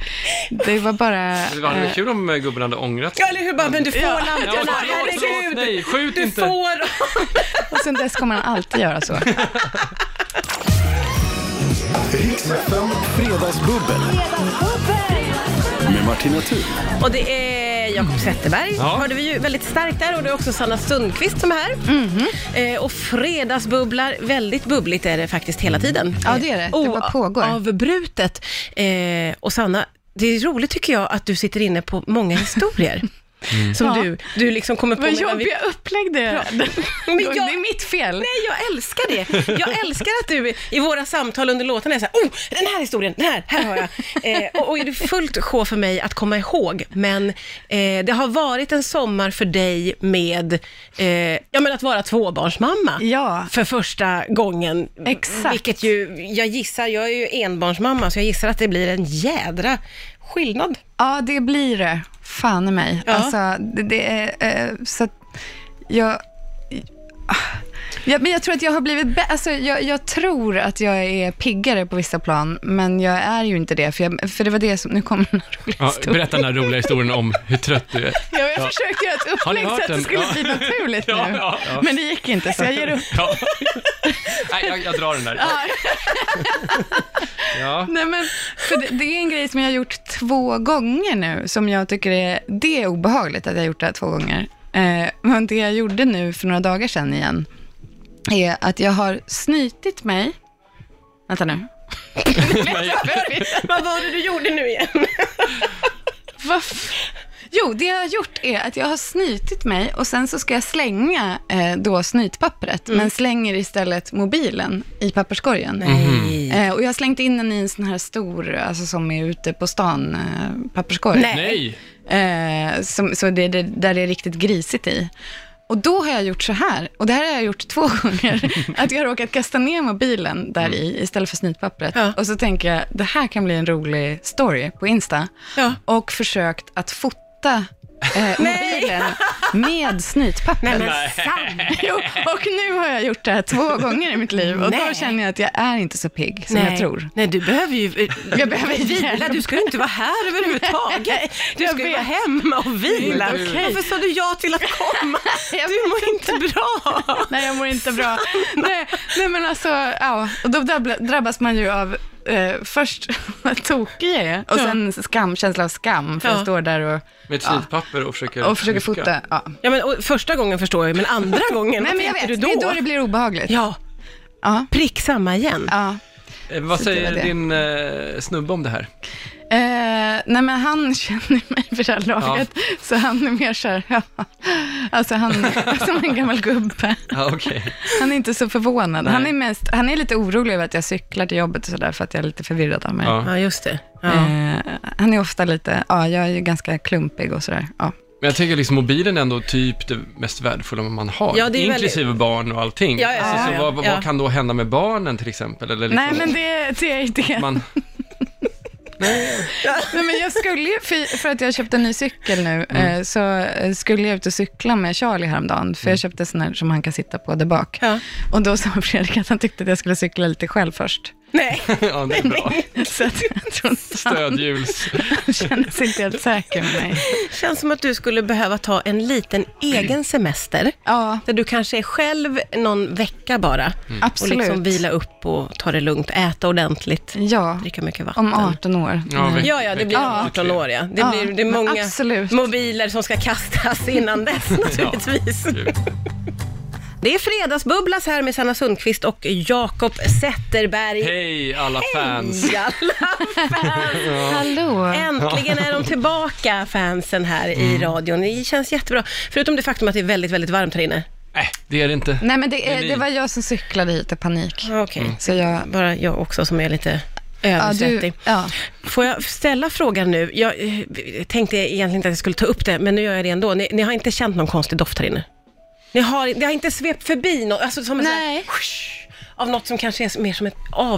[SPEAKER 3] det var bara...
[SPEAKER 4] Det hade
[SPEAKER 3] eh,
[SPEAKER 4] varit kul om eh, gubben hade ångrat sig.
[SPEAKER 2] Ja, eller hur? Bara, men du får
[SPEAKER 3] Ja.
[SPEAKER 4] Ja,
[SPEAKER 2] lamporna,
[SPEAKER 4] förlåt,
[SPEAKER 2] herregud!
[SPEAKER 4] förlåt, nej, skjut
[SPEAKER 2] Du
[SPEAKER 4] inte.
[SPEAKER 2] får
[SPEAKER 3] Och sen dess kommer han alltid göra så.
[SPEAKER 1] Riksfem Fredagsbubbel. Med Martina Thun.
[SPEAKER 2] Och det är Jakob Zetterberg,
[SPEAKER 4] Ja.
[SPEAKER 2] hörde vi ju väldigt starkt där. Och det är också Sanna Sundqvist som är här.
[SPEAKER 3] Mhm.
[SPEAKER 2] Eh, och fredagsbubblar, väldigt bubbligt är det faktiskt hela tiden.
[SPEAKER 3] Ja, det är det. Det
[SPEAKER 2] Eh,
[SPEAKER 3] bara pågår.
[SPEAKER 2] Avbrutet. Eh, och Sanna, det är roligt tycker jag att du sitter inne på många historier. Som
[SPEAKER 3] Mm. Ja.
[SPEAKER 2] du, du liksom kommer på
[SPEAKER 3] Vad
[SPEAKER 2] medan vi
[SPEAKER 3] jobbiga upplägg det är.
[SPEAKER 2] Men
[SPEAKER 3] Det
[SPEAKER 2] jag-
[SPEAKER 3] är mitt fel.
[SPEAKER 2] Nej, jag älskar det. Jag älskar att du i våra samtal under låtarna är så här, oh, den här historien, den här, här har jag. Eh, och, och är det fullt sjå för mig att komma ihåg, men eh, det har varit en sommar för dig med, eh, ja men att vara tvåbarnsmamma.
[SPEAKER 3] Ja.
[SPEAKER 2] För första gången.
[SPEAKER 3] Exakt.
[SPEAKER 2] Vilket ju, jag gissar, jag är ju enbarnsmamma, så jag gissar att det blir en jädra skillnad.
[SPEAKER 3] Ja, det blir det. Fan i mig.
[SPEAKER 2] Ja.
[SPEAKER 3] Alltså, det, det är, eh, så att jag... Ja, men jag tror att jag har blivit bä- alltså, jag, jag tror att jag är piggare på vissa plan, men jag är ju inte det. För, jag, för det var det som... Nu kommer den här roliga
[SPEAKER 4] Ja,
[SPEAKER 3] historien.
[SPEAKER 4] berätta den här roliga historien om hur trött du är.
[SPEAKER 3] Ja, jag försökte göra ett
[SPEAKER 4] Har ni
[SPEAKER 3] upplägg
[SPEAKER 4] hört
[SPEAKER 3] så att det
[SPEAKER 4] den?
[SPEAKER 3] skulle
[SPEAKER 4] Ja.
[SPEAKER 3] bli naturligt
[SPEAKER 4] Ja,
[SPEAKER 3] nu.
[SPEAKER 4] ja, ja.
[SPEAKER 3] Men det gick inte, så jag ger upp.
[SPEAKER 4] Ja. Nej, jag, jag drar den där. Ja.
[SPEAKER 3] Nej, men, för det, det är en grej som jag har gjort två gånger nu, som jag tycker är, det är obehagligt att jag har gjort det här två gånger. Eh, men det jag gjorde nu för några dagar sedan igen, är att jag har snytit mig, vänta nu,
[SPEAKER 4] Nej,
[SPEAKER 2] Vad var det du gjorde nu igen?
[SPEAKER 3] Vad f- Jo, det jag har gjort är att jag har snytit mig och sen så ska jag slänga eh, då snytpappret, men slänger istället mobilen i papperskorgen. Eh, och jag har slängt in den i en sån här stor, alltså som är ute på stan, eh, papperskorg.
[SPEAKER 2] Nej.
[SPEAKER 4] Nej.
[SPEAKER 3] Eh, som, så det, det, där det är riktigt grisigt i. Och då har jag gjort så här, och det här har jag gjort två gånger, att jag har råkat kasta ner mobilen där i istället för snytpappret.
[SPEAKER 2] Mm. Ja.
[SPEAKER 3] Och så tänker jag, det här kan bli en rolig story på Insta.
[SPEAKER 2] Ja.
[SPEAKER 3] Och försökt att fota eh, mobilen med snytpapper.
[SPEAKER 2] Nej, men
[SPEAKER 4] Nej.
[SPEAKER 2] sant!
[SPEAKER 3] Jo, och nu har jag gjort det här två gånger i mitt liv och då
[SPEAKER 2] Nej.
[SPEAKER 3] känner jag att jag är inte så pigg som
[SPEAKER 2] Nej.
[SPEAKER 3] jag tror.
[SPEAKER 2] Nej, du behöver ju eh,
[SPEAKER 3] Jag behöver
[SPEAKER 2] vila.
[SPEAKER 3] hjälp.
[SPEAKER 2] Du ska ju inte vara här överhuvudtaget. Du
[SPEAKER 3] Jag
[SPEAKER 2] ska ju vara
[SPEAKER 3] vet.
[SPEAKER 2] hemma och vila.
[SPEAKER 4] Men gud.
[SPEAKER 2] Varför sa du ja till att komma?
[SPEAKER 3] Jag
[SPEAKER 2] Du mår inte bra.
[SPEAKER 3] Nej, jag mår inte bra. Nej, nej men alltså, ja. Och då drabbla- drabbas man ju av eh, först vad tokig jag är och sen skam, känsla av skam, för
[SPEAKER 2] Ja.
[SPEAKER 3] jag står där och,
[SPEAKER 4] Med ett snytpapper och försöker
[SPEAKER 3] och försöker
[SPEAKER 4] trycka.
[SPEAKER 3] fota. Ja.
[SPEAKER 2] Ja, men, och första gången förstår jag men andra gången,
[SPEAKER 3] Nej,
[SPEAKER 2] vad
[SPEAKER 3] men jag
[SPEAKER 2] tänkte
[SPEAKER 3] vet,
[SPEAKER 2] du
[SPEAKER 3] det är då
[SPEAKER 2] då?
[SPEAKER 3] det blir obehagligt.
[SPEAKER 2] Ja,
[SPEAKER 3] Ja.
[SPEAKER 2] prick samma igen.
[SPEAKER 3] Ja.
[SPEAKER 4] Eh, Vad
[SPEAKER 3] Så det
[SPEAKER 4] säger
[SPEAKER 3] var det.
[SPEAKER 4] din eh, snubbe om det här?
[SPEAKER 3] Eh, nej, men han känner mig för det här laget, så han är mer så här, ja. Alltså han är som en gammal gubbe.
[SPEAKER 4] Ja, okej.
[SPEAKER 3] Han är inte så förvånad. Han
[SPEAKER 4] Nej.
[SPEAKER 3] är, mest, han är lite orolig över att jag cyklar till jobbet och sådär, för att jag är lite förvirrad av mig.
[SPEAKER 4] Ja.
[SPEAKER 2] Ja, just det. Ja.
[SPEAKER 3] Eh, han är ofta lite, ja, jag är ju ganska klumpig och sådär. Ja.
[SPEAKER 4] Men jag tänker liksom mobilen är ändå typ det mest värdefulla man har,
[SPEAKER 2] Ja, det är
[SPEAKER 4] inklusive barn och allting.
[SPEAKER 2] Ja, ja, ja,
[SPEAKER 4] alltså,
[SPEAKER 2] ja,
[SPEAKER 4] så
[SPEAKER 2] ja.
[SPEAKER 4] vad,
[SPEAKER 2] Ja.
[SPEAKER 4] vad kan då hända med barnen till exempel? Eller liksom,
[SPEAKER 3] Nej, men det, det är det.
[SPEAKER 4] man,
[SPEAKER 3] Nej, men jag skulle ju, för, för att jag köpte en ny cykel nu, eh, så eh, skulle jag ut och cykla med Charlie häromdagen, för jag köpte en sån här som han kan sitta på där bak.
[SPEAKER 2] Ja.
[SPEAKER 3] Och då sa Fredrik att han tyckte att jag skulle cykla lite själv först.
[SPEAKER 2] Nej,
[SPEAKER 4] ja, det är bra.
[SPEAKER 3] Så att jag tror inte
[SPEAKER 4] Stödhjuls.
[SPEAKER 3] han kände sig inte helt säker med mig.
[SPEAKER 2] känns som att du skulle behöva ta en liten egen semester.
[SPEAKER 3] Ja,
[SPEAKER 2] Där du kanske är själv någon vecka bara. Och
[SPEAKER 3] absolut.
[SPEAKER 2] liksom vila upp och ta det lugnt, äta ordentligt,
[SPEAKER 3] ja,
[SPEAKER 2] dricka mycket vatten.
[SPEAKER 3] om 18 år.
[SPEAKER 4] Ja,
[SPEAKER 3] Nej.
[SPEAKER 4] vi-
[SPEAKER 2] Ja, ja, det blir
[SPEAKER 4] Ja.
[SPEAKER 2] 18 år ja. Det,
[SPEAKER 3] Ja,
[SPEAKER 2] blir, det är
[SPEAKER 3] men
[SPEAKER 2] många
[SPEAKER 3] absolut.
[SPEAKER 2] mobiler som ska kastas innan dess naturligtvis.
[SPEAKER 4] Gud.
[SPEAKER 2] Det är Fredagsbubblas här med Sanna Sundqvist och Jakob Zetterberg.
[SPEAKER 4] Hej alla fans.
[SPEAKER 2] Hej, alla fans!
[SPEAKER 3] Hallå.
[SPEAKER 2] Äntligen är de tillbaka, fansen här
[SPEAKER 3] Mm.
[SPEAKER 2] i radion. Det känns jättebra. Förutom det faktum att det är väldigt, väldigt varmt här inne.
[SPEAKER 4] Nej, Äh, det är det inte.
[SPEAKER 3] Nej, men det,
[SPEAKER 4] är
[SPEAKER 3] är,
[SPEAKER 4] ni.
[SPEAKER 3] det var jag som cyklade hit i panik.
[SPEAKER 2] Ah, Okej,
[SPEAKER 3] Så jag...
[SPEAKER 2] bara jag också som är lite
[SPEAKER 3] Mm. Ja, du,
[SPEAKER 2] översvettig.
[SPEAKER 3] ja.
[SPEAKER 2] Får jag ställa frågan nu? Jag eh, tänkte egentligen inte att jag skulle ta upp det, men nu gör jag det ändå. Ni, ni har inte känt någon konstig doft här inne? Ni har, det har inte svept förbi något, alltså som en sån här,
[SPEAKER 3] Nej.
[SPEAKER 2] av något som kanske är mer som ett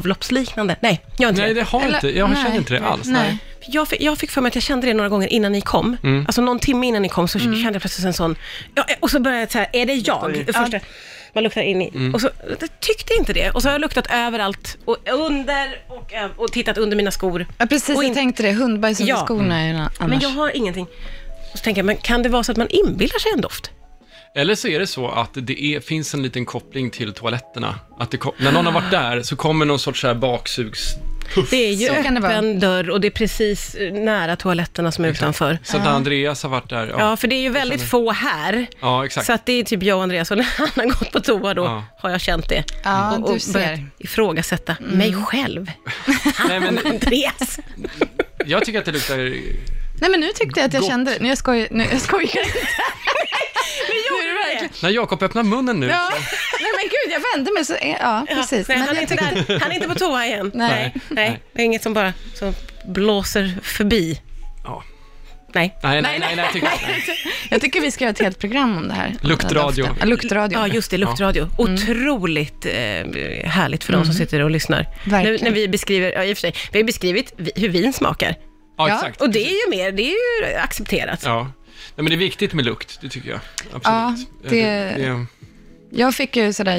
[SPEAKER 2] avloppsliknande? Nej, jag har inte
[SPEAKER 4] Nej,
[SPEAKER 2] det.
[SPEAKER 4] det har
[SPEAKER 3] Eller-
[SPEAKER 4] inte. Jag
[SPEAKER 3] nej.
[SPEAKER 4] känner inte det alls.
[SPEAKER 3] Nej.
[SPEAKER 2] Jag fick, jag fick för mig att jag kände det några gånger innan ni kom. Alltså någon timme innan ni kom så kände jag plötsligt en sån... Ja, eh, och så började jag så här, är det jag? Det Första, man luktar in i... Och så jag tyckte inte det. Och så har jag luktat överallt och under och, ö- och tittat under mina skor.
[SPEAKER 3] Ja, precis.
[SPEAKER 2] Och
[SPEAKER 3] Jag
[SPEAKER 2] in-
[SPEAKER 3] tänkte det. Hundbajs under
[SPEAKER 2] Ja.
[SPEAKER 3] skorna är ju na- annars.
[SPEAKER 2] Men jag har ingenting. Och så tänker jag, men kan det vara så att man inbillar sig en doft?
[SPEAKER 4] Eller så är det så att det är, finns en liten koppling till toaletterna. Att det, kom- när någon har varit där så kommer någon sorts så här baksugs...
[SPEAKER 2] Det är ju
[SPEAKER 3] Så kan det vara.
[SPEAKER 2] öppen dörr och det är precis eh, nära toaletterna som är utanför.
[SPEAKER 4] Så att när Andreas har varit där, ja,
[SPEAKER 2] Ja, för det är ju väldigt få här.
[SPEAKER 4] ja exakt.
[SPEAKER 2] Så att det är typ jag och Andreas, och när han har gått på toa då
[SPEAKER 4] Ja.
[SPEAKER 2] har jag känt det.
[SPEAKER 3] Ja,
[SPEAKER 2] och, och
[SPEAKER 3] du ser. Mm.
[SPEAKER 2] börjat ifrågasätta mig själv.
[SPEAKER 4] Nej, men
[SPEAKER 2] Andreas!
[SPEAKER 4] jag tycker att det luktar...
[SPEAKER 3] Nej, men nu tyckte jag att jag
[SPEAKER 4] Gott.
[SPEAKER 3] kände det. Nu jag skojar, nu, jag skojar inte. nu är det verkligen...
[SPEAKER 4] När Jakob öppnar munnen nu,
[SPEAKER 3] Ja. Nej, men gud, jag vände mig så... Ja, precis.
[SPEAKER 2] Nej,
[SPEAKER 3] Men
[SPEAKER 2] han, är
[SPEAKER 3] jag
[SPEAKER 2] inte
[SPEAKER 3] tyckte-
[SPEAKER 2] där. han är inte på toa igen.
[SPEAKER 3] Nej.
[SPEAKER 4] Nej.
[SPEAKER 2] Nej, det är inget som bara som blåser förbi.
[SPEAKER 4] Ja.
[SPEAKER 2] Nej.
[SPEAKER 4] Nej, nej, nej, nej, jag tycker inte.
[SPEAKER 3] Jag tycker vi ska göra ett helt program om det här.
[SPEAKER 4] Luktradio.
[SPEAKER 3] Den här doften. Ja, luktradio.
[SPEAKER 2] Ja, just det, luktradio.
[SPEAKER 4] Mm.
[SPEAKER 2] Otroligt eh, härligt för de som sitter och lyssnar.
[SPEAKER 3] Verkligen.
[SPEAKER 2] När, när vi beskriver, ja, i och för sig, vi har ju beskrivit vi- hur vin smakar.
[SPEAKER 4] Ja,
[SPEAKER 3] Ja,
[SPEAKER 4] exakt.
[SPEAKER 2] Och det är ju mer, det är ju accepterat.
[SPEAKER 4] Ja. Nej, men det är viktigt med lukt, det tycker jag. Absolut.
[SPEAKER 3] Ja, det-
[SPEAKER 4] är-
[SPEAKER 3] Jag fick ju sådär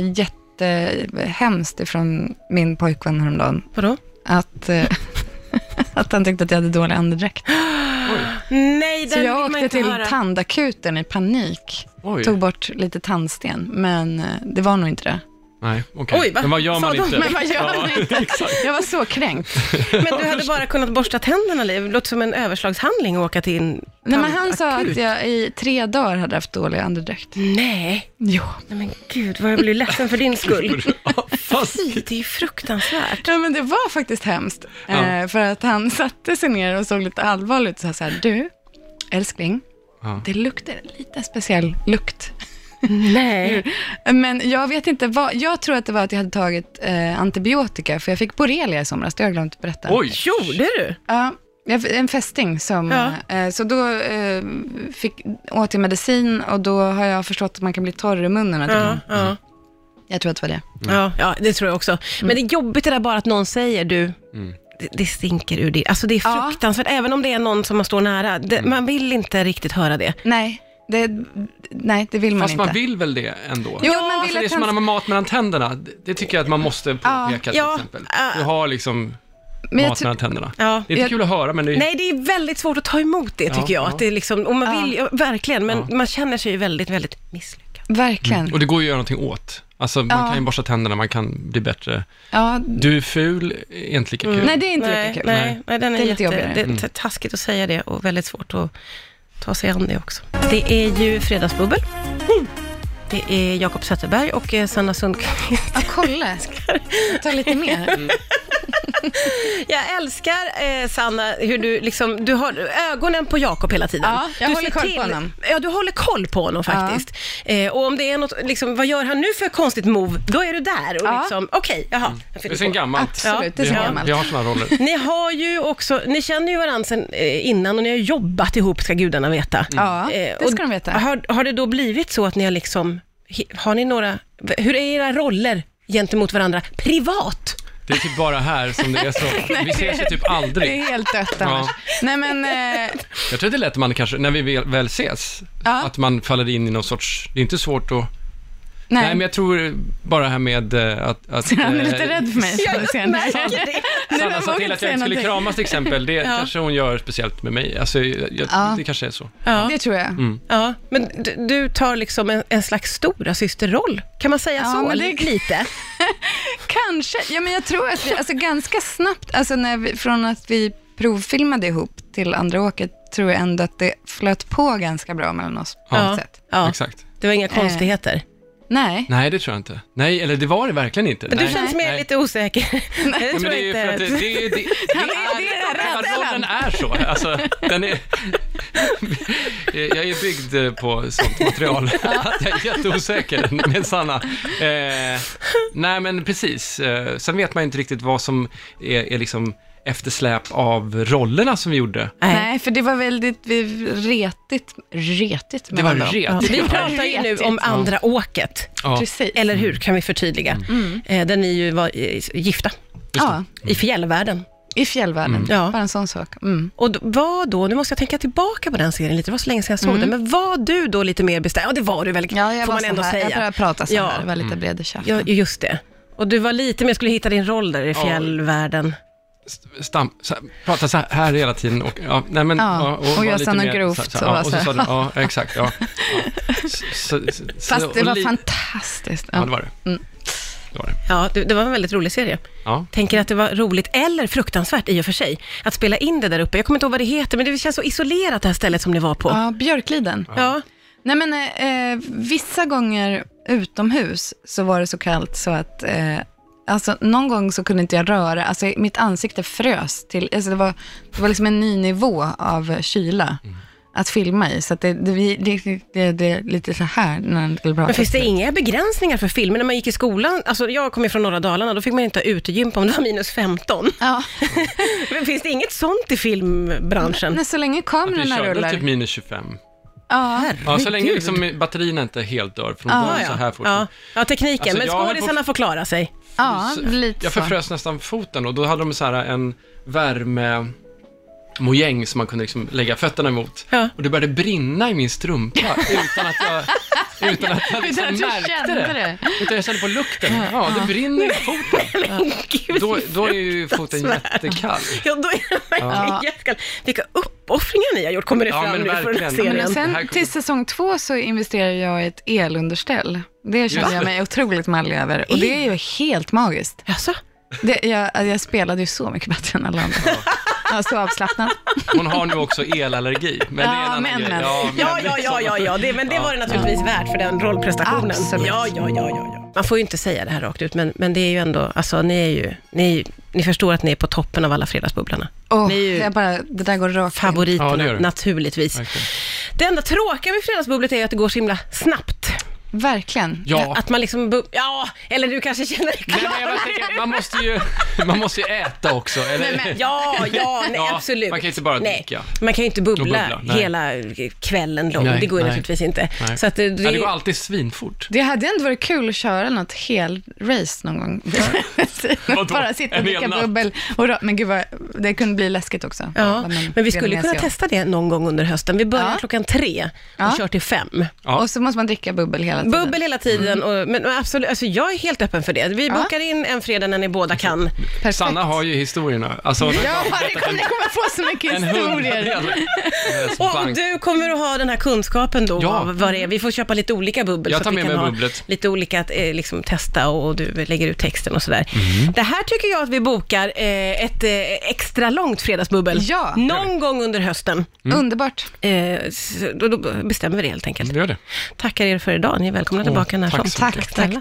[SPEAKER 3] jättehemskt ifrån min pojkvän häromdagen.
[SPEAKER 2] Vadå?
[SPEAKER 3] Att, eh, att han tyckte att jag hade dålig andedräkt.
[SPEAKER 2] Nej, den
[SPEAKER 3] Så
[SPEAKER 2] vill
[SPEAKER 3] jag
[SPEAKER 2] man
[SPEAKER 3] åkte
[SPEAKER 2] inte
[SPEAKER 3] till
[SPEAKER 2] höra.
[SPEAKER 3] tandakuten i panik.
[SPEAKER 4] Oj.
[SPEAKER 3] Tog bort lite tandsten, men eh, det var nog inte det.
[SPEAKER 4] Nej, okej.
[SPEAKER 2] Oj, va?
[SPEAKER 4] Men vad gör
[SPEAKER 2] Sa
[SPEAKER 4] man
[SPEAKER 2] de-
[SPEAKER 4] inte?
[SPEAKER 2] men
[SPEAKER 3] vad gör
[SPEAKER 4] ja,
[SPEAKER 3] man inte?
[SPEAKER 4] Exakt.
[SPEAKER 3] Jag var så kränkt.
[SPEAKER 2] Men du hade bara kunnat borsta tänderna, Liv. Det låter som en överslagshandling att åka till en
[SPEAKER 3] Nej, men han sa
[SPEAKER 2] tandakut.
[SPEAKER 3] att jag i tre dagar hade haft dålig andedräkt.
[SPEAKER 2] Nej,
[SPEAKER 3] Jo.
[SPEAKER 2] nej men gud vad jag blir ledsen för din skull.
[SPEAKER 4] Ja, fast-
[SPEAKER 2] Fy, det är ju fruktansvärt.
[SPEAKER 3] Ja, men det var faktiskt hemskt.
[SPEAKER 4] Ja.
[SPEAKER 3] Eh, för att han satte sig ner och såg lite allvarlig ut och sa så här, du, älskling,
[SPEAKER 4] Ja.
[SPEAKER 3] det luktar lite speciell lukt.
[SPEAKER 2] Nej.
[SPEAKER 3] Men jag vet inte vad, jag tror att det var att jag hade tagit eh, antibiotika, för jag fick borrelia i somras, det har jag glömt berätta.
[SPEAKER 4] Oj.
[SPEAKER 2] Gjorde du?
[SPEAKER 3] Ja, jag- en fästing som...
[SPEAKER 2] Ja.
[SPEAKER 3] Eh, så då eh, fick, åt jag medicin och då har jag förstått att man kan bli torr i munnen. av det.
[SPEAKER 2] Ja, ja,
[SPEAKER 3] Jag tror att det var det.
[SPEAKER 2] ja, ja, det tror jag också. Men det är jobbigt det där bara att någon säger, du, det- det stinker ur det. Alltså det är
[SPEAKER 3] Ja.
[SPEAKER 2] fruktansvärt, även om det är någon som man står nära. Det, man vill inte riktigt höra det.
[SPEAKER 3] Nej, det, nej, det vill man
[SPEAKER 4] Fast
[SPEAKER 3] inte.
[SPEAKER 4] man vill väl det ändå?
[SPEAKER 3] Jo, man vill
[SPEAKER 4] Alltså, det är
[SPEAKER 3] att
[SPEAKER 4] som när
[SPEAKER 3] han...
[SPEAKER 4] man har mat mellan tänderna. Det det tycker jag att man måste påpeka till
[SPEAKER 2] Ja,
[SPEAKER 4] exempel.
[SPEAKER 2] äh.
[SPEAKER 4] Du har liksom
[SPEAKER 3] Men jag
[SPEAKER 4] mat
[SPEAKER 3] tr-
[SPEAKER 4] mellan tänderna.
[SPEAKER 2] Ja.
[SPEAKER 4] Det är inte
[SPEAKER 3] Jag-
[SPEAKER 4] kul att höra, men det är...
[SPEAKER 2] Nej, det är väldigt svårt att ta emot det tycker
[SPEAKER 4] Ja,
[SPEAKER 2] jag.
[SPEAKER 4] ja.
[SPEAKER 2] Att det är liksom, och man
[SPEAKER 3] Ja.
[SPEAKER 2] vill, ja. verkligen, men
[SPEAKER 4] Ja.
[SPEAKER 2] man känner sig ju väldigt, väldigt misslyckad.
[SPEAKER 3] Verkligen.
[SPEAKER 4] Och det går ju att göra någonting åt. Alltså, man
[SPEAKER 3] Ja.
[SPEAKER 4] kan ju borsta tänderna, man kan bli bättre.
[SPEAKER 3] Ja,
[SPEAKER 4] Du är ful, är inte lika kul.
[SPEAKER 3] Mm. nej, det är inte
[SPEAKER 2] nej,
[SPEAKER 3] lika kul.
[SPEAKER 2] Nej, nej, den är,
[SPEAKER 3] Det är
[SPEAKER 2] jätte,
[SPEAKER 3] lite jobbigare.
[SPEAKER 2] det är t- taskigt att säga det och väldigt svårt att ta sig an det också. Det är ju Fredagsbubbel. Det är Jakob Zetterberg och eh, Sanna Sundqvist.
[SPEAKER 3] Ja, kolla. Ta lite
[SPEAKER 4] Mm.
[SPEAKER 3] mer.
[SPEAKER 2] Jag älskar eh, Sanna, hur du liksom, du har ögonen på Jakob hela tiden.
[SPEAKER 3] Ja, jag
[SPEAKER 2] du
[SPEAKER 3] håller
[SPEAKER 2] ser
[SPEAKER 3] koll på honom.
[SPEAKER 2] Ja, du håller koll på honom faktiskt. Eh, och om det är något, liksom, vad gör han nu för konstigt move, då är du där och
[SPEAKER 3] Ja.
[SPEAKER 2] liksom, okej, jaha. jag
[SPEAKER 4] Mm. Det är
[SPEAKER 2] fyller
[SPEAKER 4] sen
[SPEAKER 2] på.
[SPEAKER 4] gammalt.
[SPEAKER 3] Absolut, det är så
[SPEAKER 4] vi, har,
[SPEAKER 3] gammalt.
[SPEAKER 4] vi har såna roller.
[SPEAKER 2] Ni har ju också, ni känner ju varandra sen eh, innan och ni har jobbat ihop ska gudarna veta.
[SPEAKER 3] Mm. Ja,
[SPEAKER 2] Eh,
[SPEAKER 3] det ska
[SPEAKER 2] och
[SPEAKER 3] de veta.
[SPEAKER 2] Har, har det då blivit så att ni har liksom, he- har ni några, hur är era roller gentemot varandra privat?
[SPEAKER 4] Det är typ bara här som det är så. Vi ses ju typ
[SPEAKER 3] Det
[SPEAKER 4] aldrig.
[SPEAKER 3] är helt dött annars. Nej, men... Eh,
[SPEAKER 4] Jag tror det är lätt att man kanske, när vi väl, väl ses,
[SPEAKER 3] Ja.
[SPEAKER 4] att man faller in i någon sorts, det är inte svårt att... Nej,
[SPEAKER 3] nej.
[SPEAKER 4] men jag tror bara här med eh, att... att
[SPEAKER 3] Han är
[SPEAKER 4] eh,
[SPEAKER 3] lite rädd för mig. ser jag nu.
[SPEAKER 2] det.
[SPEAKER 3] Nu vågar inte
[SPEAKER 4] Sanna sa till att jag
[SPEAKER 3] säga
[SPEAKER 4] inte skulle
[SPEAKER 3] någonting.
[SPEAKER 4] kramas till exempel, det
[SPEAKER 2] Ja.
[SPEAKER 4] kanske hon gör speciellt med mig. Alltså, jag, jag-
[SPEAKER 3] Ja.
[SPEAKER 4] Det kanske är så.
[SPEAKER 2] Ja.
[SPEAKER 3] Det tror jag.
[SPEAKER 2] Ja, men du, du tar liksom en, en slags stora systerroll. Kan man säga
[SPEAKER 3] Ja,
[SPEAKER 2] så?
[SPEAKER 3] men det-
[SPEAKER 2] Li- Lite.
[SPEAKER 3] Kanske. Ja, men jag tror att vi, alltså ganska snabbt, alltså när vi, från att vi provfilmade ihop till andra åket, tror jag ändå att det flöt på ganska bra mellan oss på
[SPEAKER 4] Ja.
[SPEAKER 3] något sätt.
[SPEAKER 2] Ja,
[SPEAKER 4] Exakt.
[SPEAKER 2] det var
[SPEAKER 3] Eh.
[SPEAKER 2] inga konstigheter.
[SPEAKER 3] Nej.
[SPEAKER 4] Nej, det tror jag inte. Nej, eller det var det verkligen inte.
[SPEAKER 2] Men du
[SPEAKER 4] Nej.
[SPEAKER 2] känns mer
[SPEAKER 4] Nej.
[SPEAKER 2] lite osäker. Nej, det
[SPEAKER 4] Ja, men
[SPEAKER 2] tror
[SPEAKER 4] det är ju för
[SPEAKER 2] jag
[SPEAKER 4] att det,
[SPEAKER 2] inte.
[SPEAKER 4] det, det, det,
[SPEAKER 3] det är- det är
[SPEAKER 4] själva
[SPEAKER 3] rädslan.
[SPEAKER 4] rollen är så. Alltså, den är, jag är byggd eh, på sånt material. Att jag är jätteosäker med Sanna. Eh, nej, men precis. Eh, sen vet man ju inte riktigt vad som är, är liksom eftersläp av rollerna som vi gjorde.
[SPEAKER 2] Nej.
[SPEAKER 3] Nej, för det var väldigt vi, retigt, retigt
[SPEAKER 4] Det var
[SPEAKER 3] mellan dem.
[SPEAKER 2] Ja.
[SPEAKER 4] retigt.
[SPEAKER 2] Vi
[SPEAKER 4] Ja.
[SPEAKER 2] pratar ju nu om andra åket,
[SPEAKER 4] Ja, Mm.
[SPEAKER 3] Precis. Mm.
[SPEAKER 2] eller hur? Kan vi förtydliga. Eh, Där ni ju var eh, gifta
[SPEAKER 3] ja,
[SPEAKER 2] i fjällvärlden.
[SPEAKER 3] i fjällvärlden.
[SPEAKER 2] Ja.
[SPEAKER 3] Bara en sån sak. Mm.
[SPEAKER 2] Och d- var då, nu måste jag tänka tillbaka på den serien lite, det var så länge sedan jag såg den, men var du då lite mer bestämd? Ja, det var du väl,
[SPEAKER 3] Mm. Ja,
[SPEAKER 2] får
[SPEAKER 3] jag var
[SPEAKER 2] man
[SPEAKER 3] så
[SPEAKER 2] ändå
[SPEAKER 3] här,
[SPEAKER 2] säga.
[SPEAKER 3] Jag började prata så
[SPEAKER 2] Ja.
[SPEAKER 3] här, var lite bred i käften.
[SPEAKER 2] Ja, just det. Och du var lite mer, skulle hitta din roll där i
[SPEAKER 4] Ja.
[SPEAKER 2] fjällvärlden.
[SPEAKER 4] stam, så, här- prata så här hela tiden. Och, ja, nej, men,
[SPEAKER 3] Ja, och
[SPEAKER 4] var
[SPEAKER 3] jag
[SPEAKER 4] lite
[SPEAKER 3] sa något
[SPEAKER 4] mer-
[SPEAKER 3] grovt
[SPEAKER 4] här-
[SPEAKER 3] och
[SPEAKER 4] ja,
[SPEAKER 3] var
[SPEAKER 4] och
[SPEAKER 3] så
[SPEAKER 4] så
[SPEAKER 3] här.
[SPEAKER 4] sa du, ja, exakt. Ja, ja. Så, så, så-
[SPEAKER 3] Fast det
[SPEAKER 4] och
[SPEAKER 3] var
[SPEAKER 4] li-
[SPEAKER 3] fantastiskt.
[SPEAKER 4] Ja,
[SPEAKER 3] Ja.
[SPEAKER 4] det var det. det, var det.
[SPEAKER 2] Ja, det, det var en väldigt rolig serie.
[SPEAKER 4] Ja.
[SPEAKER 2] Tänker att det var roligt, eller fruktansvärt i och för sig, att spela in det där uppe. Jag kommer inte ihåg vad det heter, men det känns så isolerat det här stället som ni var på.
[SPEAKER 3] Ja, Björkliden.
[SPEAKER 2] Ja,
[SPEAKER 3] Nej, men eh, eh, vissa gånger utomhus så var det så kallt så att eh, Alltså, någon gång så kunde inte jag röra, alltså, mitt ansikte frös till, alltså, det, var, det var liksom en ny nivå av eh, kyla
[SPEAKER 4] Mm.
[SPEAKER 3] att filma i. Så att det, det, vi- det, det, det är lite så här när man skulle prata.
[SPEAKER 2] men finns det inga begränsningar för film? När man gick i skolan, alltså jag kom ju från norra Dalarna, då fick man inte ha utegympa om det var minus 15.
[SPEAKER 3] Ja,
[SPEAKER 2] Men finns det inget sånt i filmbranschen?
[SPEAKER 3] när så länge
[SPEAKER 4] Vi
[SPEAKER 3] kamerorna
[SPEAKER 4] körde
[SPEAKER 3] rullar.
[SPEAKER 4] typ minus 25.
[SPEAKER 3] ja.
[SPEAKER 4] Ja, så länge
[SPEAKER 2] Herregud.
[SPEAKER 4] liksom batterierna inte helt dör, för de
[SPEAKER 3] Ja,
[SPEAKER 4] dör
[SPEAKER 2] ja.
[SPEAKER 4] så här fort.
[SPEAKER 2] Ja, ja tekniken.
[SPEAKER 4] Alltså,
[SPEAKER 2] men
[SPEAKER 4] jag höll på-
[SPEAKER 2] skådisarna får klara sig.
[SPEAKER 3] ja,
[SPEAKER 4] Så-
[SPEAKER 3] lite
[SPEAKER 4] Jag
[SPEAKER 3] så.
[SPEAKER 4] förfrös nästan foten och då hade de så här en värme mojäng som man kunde liksom lägga fötterna emot.
[SPEAKER 2] Ja.
[SPEAKER 4] Och det började brinna i min strumpa utan att jag, utan att jag liksom
[SPEAKER 3] Utan att du
[SPEAKER 4] märkte
[SPEAKER 3] kände
[SPEAKER 4] det.
[SPEAKER 3] det.
[SPEAKER 4] Utan jag kände på lukten. Ja, det brinner i foten.
[SPEAKER 2] Gud,
[SPEAKER 4] Då, då är ju foten jättekall.
[SPEAKER 2] Ja, då är det verkligen
[SPEAKER 3] Ja.
[SPEAKER 2] jättekall. Vilka uppoffringar ni har gjort, kommer det
[SPEAKER 4] Ja,
[SPEAKER 2] fram
[SPEAKER 4] men
[SPEAKER 2] nu från
[SPEAKER 4] verkligen.
[SPEAKER 2] serien.
[SPEAKER 3] Men och
[SPEAKER 4] Det här
[SPEAKER 3] sen
[SPEAKER 4] kommer-
[SPEAKER 3] till säsong två så investerar jag i ett elunderställ. Det känner
[SPEAKER 4] Just
[SPEAKER 3] jag
[SPEAKER 4] det.
[SPEAKER 3] mig otroligt mallig över. Och det är ju helt magiskt.
[SPEAKER 2] Jaså?
[SPEAKER 3] Det, jag, jag spelade ju så mycket bättre än alla andra. Ja, så avslappnad.
[SPEAKER 4] Hon har nu också elallergi. Men det är en
[SPEAKER 3] Ja,
[SPEAKER 4] annan
[SPEAKER 3] men,
[SPEAKER 4] grej. liksom.
[SPEAKER 3] men.
[SPEAKER 2] Ja, ja, ja, ja, ja. Det, men det var det naturligtvis värt för den rollprestationen.
[SPEAKER 3] Absolut.
[SPEAKER 2] Ja, ja, ja, ja, ja. Man får ju inte säga det här rakt ut, men, men det är ju ändå, alltså ni är ju, ni, är ju, ni förstår att ni är på toppen av alla Fredagsbubblarna.
[SPEAKER 3] Och
[SPEAKER 2] Ni är ju
[SPEAKER 3] jag bara, det där går rakt in.
[SPEAKER 2] favoriterna,
[SPEAKER 4] Ja, det gör det.
[SPEAKER 2] naturligtvis.
[SPEAKER 4] Verkligen.
[SPEAKER 2] Det enda tråkiga med Fredagsbubblet är ju att det går så himla snabbt.
[SPEAKER 3] Verkligen.
[SPEAKER 4] Ja.
[SPEAKER 2] Att man liksom, bu- ja, eller du kanske känner dig
[SPEAKER 4] Nej, men jag bara
[SPEAKER 2] klar.
[SPEAKER 4] tänker, man måste ju, man måste ju äta också, eller?
[SPEAKER 2] Ja, ja, nej,
[SPEAKER 4] Ja,
[SPEAKER 2] absolut.
[SPEAKER 4] man kan inte bara
[SPEAKER 2] nej.
[SPEAKER 4] dricka.
[SPEAKER 2] Man kan ju inte bubbla,
[SPEAKER 4] Och bubbla, nej.
[SPEAKER 2] hela kvällen lång.
[SPEAKER 4] Nej,
[SPEAKER 2] det går ju
[SPEAKER 4] nej.
[SPEAKER 2] naturligtvis inte.
[SPEAKER 4] Nej.
[SPEAKER 2] Så att eh, det,
[SPEAKER 4] Ja, det går alltid svinfort.
[SPEAKER 3] Det hade ändå varit kul att köra något hel race någon gång.
[SPEAKER 4] Vadå?
[SPEAKER 3] Bara sitta och
[SPEAKER 4] En
[SPEAKER 3] dricka
[SPEAKER 4] hel natt?
[SPEAKER 3] bubbel. Och ra- men gud, vad, det kunde bli läskigt också.
[SPEAKER 2] Ja,
[SPEAKER 3] Vad man
[SPEAKER 2] men vi
[SPEAKER 3] delar
[SPEAKER 2] skulle
[SPEAKER 3] med
[SPEAKER 2] kunna
[SPEAKER 3] sig av.
[SPEAKER 2] testa det någon gång under hösten. Vi börjar
[SPEAKER 3] Ja.
[SPEAKER 2] klockan tre och
[SPEAKER 3] Ja.
[SPEAKER 2] kör till fem.
[SPEAKER 4] Ja.
[SPEAKER 3] Och så måste man dricka bubbel hela tiden.
[SPEAKER 2] Bubbel hela tiden, och, men men absolut, alltså jag är helt öppen för det. Vi bokar in en fredag när ni båda
[SPEAKER 4] Alltså,
[SPEAKER 2] kan.
[SPEAKER 3] Perfekt.
[SPEAKER 4] Sanna har ju historierna. Alltså, hon har
[SPEAKER 3] Ja,
[SPEAKER 4] bara
[SPEAKER 3] det
[SPEAKER 4] berättat
[SPEAKER 3] kommer, ni kommer få så mycket
[SPEAKER 4] en hundradel.
[SPEAKER 3] historier.
[SPEAKER 4] hennes
[SPEAKER 2] Och, och
[SPEAKER 4] bank.
[SPEAKER 2] du kommer att ha den här kunskapen då,
[SPEAKER 4] Ja.
[SPEAKER 2] av vad det är. Vi får köpa lite olika bubbel.
[SPEAKER 4] Jag
[SPEAKER 2] så
[SPEAKER 4] tar
[SPEAKER 2] att vi
[SPEAKER 4] med
[SPEAKER 2] kan
[SPEAKER 4] mig
[SPEAKER 2] ha
[SPEAKER 4] bubblet.
[SPEAKER 2] Lite olika att eh, liksom, testa och, och du lägger ut texten och sådär.
[SPEAKER 4] Mm.
[SPEAKER 2] Det här tycker jag att vi bokar eh, ett eh, extra långt fredagsbubbel.
[SPEAKER 3] Ja.
[SPEAKER 2] Någon gång under hösten.
[SPEAKER 3] Mm. Underbart.
[SPEAKER 2] Eh, så, då, då bestämmer vi det helt enkelt.
[SPEAKER 4] Gör det.
[SPEAKER 2] Tackar er för idag. Ni är välkomna tillbaka när
[SPEAKER 4] Mm. tack
[SPEAKER 2] som.
[SPEAKER 4] så
[SPEAKER 3] Tack,
[SPEAKER 4] mycket.
[SPEAKER 3] tack,
[SPEAKER 2] Snälla.